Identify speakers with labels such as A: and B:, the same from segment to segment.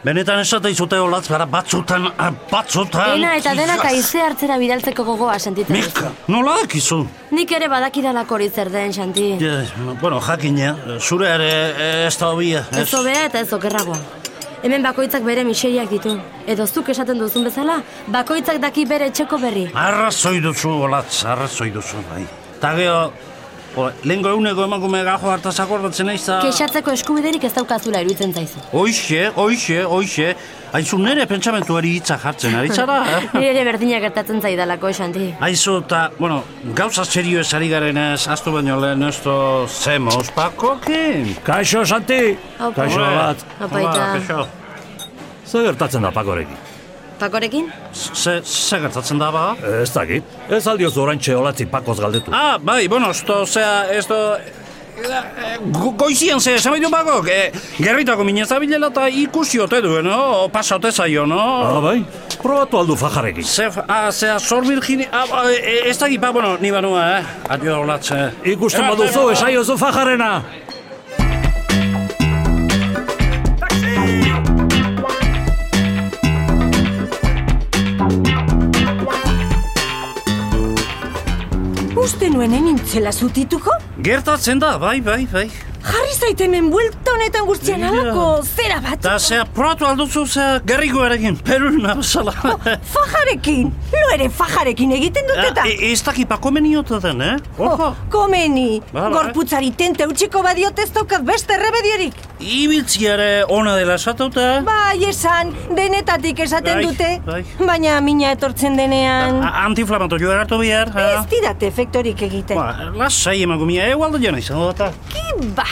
A: Benetan esatei zute olatz gara batzutan, ah, batzutan...
B: Dena eta denak
A: Jesus.
B: aize hartzera bidaltzeko gogoa sentitzen.
A: Mika, nola akizu?
B: Nik ere badakidalako hori zer den, Xanti.
A: Ja, bueno, jakina, zure ere eh, ez da hobia.
B: Ez hobea eta ez okerragoa. Hemen bakoitzak bere miseriak ditu. Edo zuk esaten duzun bezala, bakoitzak daki bere etxeko berri.
A: Arrazoi duzu, olatz, arrazoi duzu, bai. Ta geho, o, lehenko eguneko emakume gajo hartaz akordatzen naiz da...
B: Kexatzeko eskubiderik ez daukazula iruditzen zaizu.
A: Oixe, oixe, oixe. Aizu nere pentsamentuari hitza jartzen, ari zara? eh?
B: Nire ere berdina gertatzen zaidalako, Xanti.
A: Aizu eta, bueno, gauza serio ez ari garen ez, aztu baino lehen ez to zemoz pakokin.
C: Kaixo, Santi!
B: Aupa.
C: Kaixo bat.
B: Apaita.
A: kaixo.
C: Zer gertatzen da pakorekin?
B: Pakorekin?
A: Ze, ze gertatzen da ba?
C: Ez dakit. Ez aldioz orantxe olatzi pakoz galdetu.
A: Ah, bai, bueno, esto, osea, esto... eh, go- Goizian ze, esan baitu bakok, eh, gerritako minez abilela eta ikusi ote du, no? Pasa ote zaio, no?
C: Ah, bai? Probatu aldu fajarekin.
A: Ze, ah, zea, zor virgini... Ah, ah, eh, ez dakit, ba, bueno, ni banua, eh? Adio Eh, olatze.
C: Ikusten baduzu, esaiozu fajarena!
D: Uste nuen enintzela zutituko?
A: Gertatzen da, bai, bai, bai.
D: Jarri zaitemen buelta honetan guztian
A: Ja.
D: alako zera bat.
A: Ta zea, probatu alduzu zea gerrikoarekin, peruna bezala.
D: Fajarekin! Lo ere fajarekin egiten dut eta...
A: E, ez dakit pako meniote den, eh?
D: Oh,
A: Ojo,
D: komeni!
A: Ba, ba.
D: Gorputzari tente utziko badiot ez daukat beste remediorik.
A: ibiltziare ona dela eh? esatuta.
D: Bai esan, denetatik esaten
A: Bai,
D: dute.
A: bai. Ah,
D: Baina mina etortzen denean...
A: A- Antiinflamatu joan hartu behar.
D: Ez didate efektorik egiten.
A: ah. Ba, lasai emakumia, egu aldo jena izango eta.
D: Ki ba!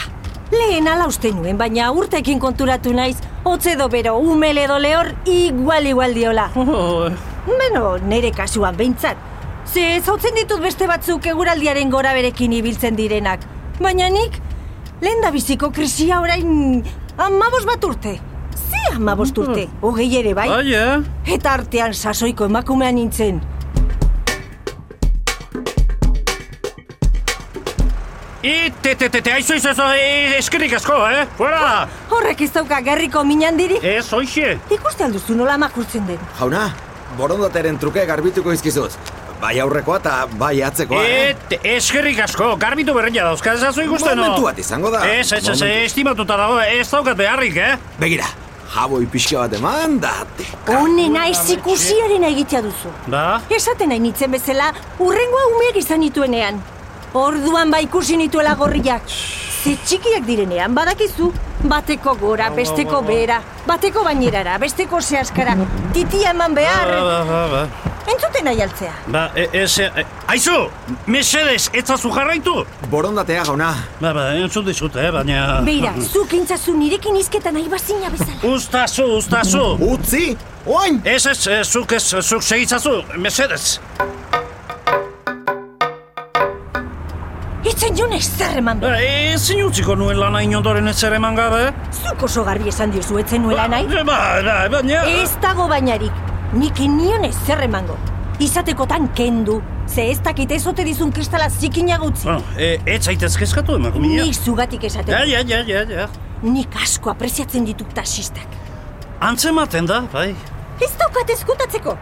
D: Lehen ala uste nuen, baina urtekin konturatu naiz, hotz edo bero, umel edo lehor, igual igual diola.
A: Oh,
D: Beno, nire kasuan behintzat. Ze zautzen ditut beste batzuk eguraldiaren gora berekin ibiltzen direnak. Baina nik, lehen da biziko krisia orain amabos bat urte. Ze amabos urte, hogei ere bai.
A: bai, eh?
D: Eta artean sasoiko emakumea nintzen.
A: Ite, te, te, te, aizu izazo, e, eskerrik asko, eh? Fuera!
D: Horrek ez dauka gerriko minandirik.
A: Ez, oixe.
D: Ikuste alduzu nola makurtzen den.
E: Jauna, borondateren truke garbituko izkizut. Bai aurrekoa eta bai atzekoa. eh?
A: Et, eskerrik asko, garbitu berria dauzka, ez azu ikusten, no? Eh,
E: Momentu bat izango da.
A: Ez, ez, ez,
E: Momentu.
A: estimatuta dago, ez daukat beharrik, eh?
E: Begira, jaboi pixka bat eman da. tika.
D: Honena ez ikusiarena egitea duzu.
A: Da?
D: Esaten nahi nintzen bezala, urrengoa umeak izan nituenean. Orduan ba ikusi nituela gorriak. Ze txikiak direnean, badakizu. Bateko gora, besteko behera, bateko bainerara, besteko zehaskara, titia eman
A: Ba,
D: behar,
A: ba, ba, ba.
D: entzuten nahi altzea.
A: Ba, e- ez... e- Aizu! Mesedez, etzazu jarraitu!
E: Borondatea jauna.
A: Ba, ba, entzun dizut, eh, baina...
D: Beira, zuk intzazu nirekin izketan nahi bazina bezala.
A: Uztazu, uztazu!
E: Utzi, oain!
A: Ez, ez, eh, zuk ez, zuk segitzazu, mesedez!
D: Itzen jone zer eman behar.
A: Ba, ezin utziko nuen lana inondoren ezer eman gabe?
D: Zuk oso garbi esan diozu etzen nuela nahi.
A: Ba, ba, baina...
D: Ez dago bainarik, nik inion ez zer emango. Izatekotan kendu, ze ez dakit ez ote dizun kristala zikina gutzi.
A: Bueno, e, ez zaitez kezkatu emakumia.
D: Nik zugatik esaten
A: Ja, ja, ja, ja, ja.
D: Nik asko apreziatzen ditut taxistak.
A: Antzematen da, bai.
D: Ez daukat ezkutatzeko.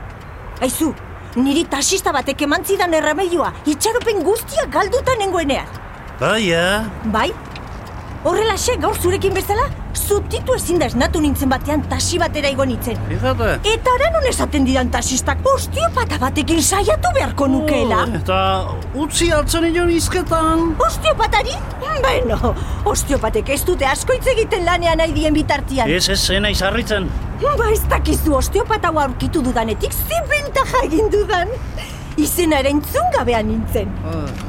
D: Aizu, niri taxista batek eman zidan erremedioa, itxaropen guztia galduta nengoenean.
A: Bai, ja.
D: Bai? Horrelaxe gaur zurekin bezala, zutitu ezin da esnatu nintzen batean taxi batera igo nintzen.
A: Fíjate.
D: Eta aranon esaten didan taxistak osteopata batekin saiatu beharko nukeela.
A: Oh, Eta utzi altzen nion izketan.
D: Osteopatari? Beno, osteopatek ez dute asko hitz egiten lanean nahi dien bitartian.
A: Ez, ez, zena izarritzen.
D: Ba ez dakizu osteopataua aurkitu dudanetik ze bentaja egin dudan. Izena ere entzun gabean nintzen.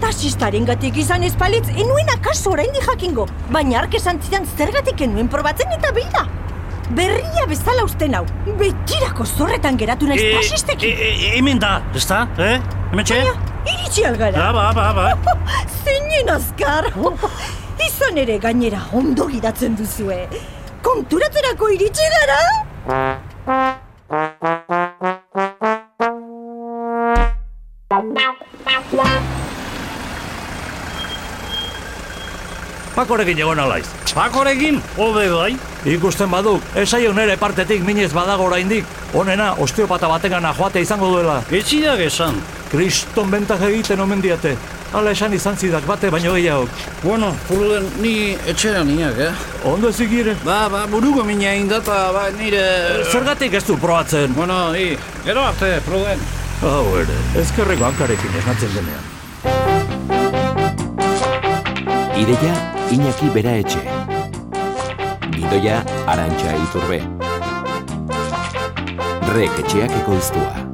D: Taxistaren gatik izan espalitz, enuen akaso oraindik jakingo, baina ark esan zidan zergatik enuen probatzen eta beira. Berria bezala usten hau, betirako zorretan geratu naiz
A: E,
D: taxistekin.
A: e, e, hemen da, ez da? Eh? Hemen txe?
D: Baina, iritsi algara.
A: Ba, ba, ba, ba.
D: Zeinen azkar! Izan ere gainera ondo gidatzen duzue. Konturatzerako iritsi gara?
C: Pakorekin egon alaiz.
A: Pakorekin, hobe bai.
C: Ikusten baduk, esaio nere partetik minez badago oraindik, onena osteopata bategana joatea izango duela.
A: Etzidak esan.
C: Kriston bentaje egiten omen diate. Hala esan izan zidak bate baino gehiagok.
A: Bueno, puruden, ni etxera niak, eh?
C: Ondo zikire.
A: Ba, ba, buruko mina indata, ba, nire...
C: Zergatik ez du probatzen.
A: Bueno, i, gero arte, pruden.
C: Hau ere, ezkerreko hankarekin esnatzen denean.
F: Ideia Iñaki Bera Etxe. Bidoia Arantxa Iturbe. Rek etxeak ekoiztua.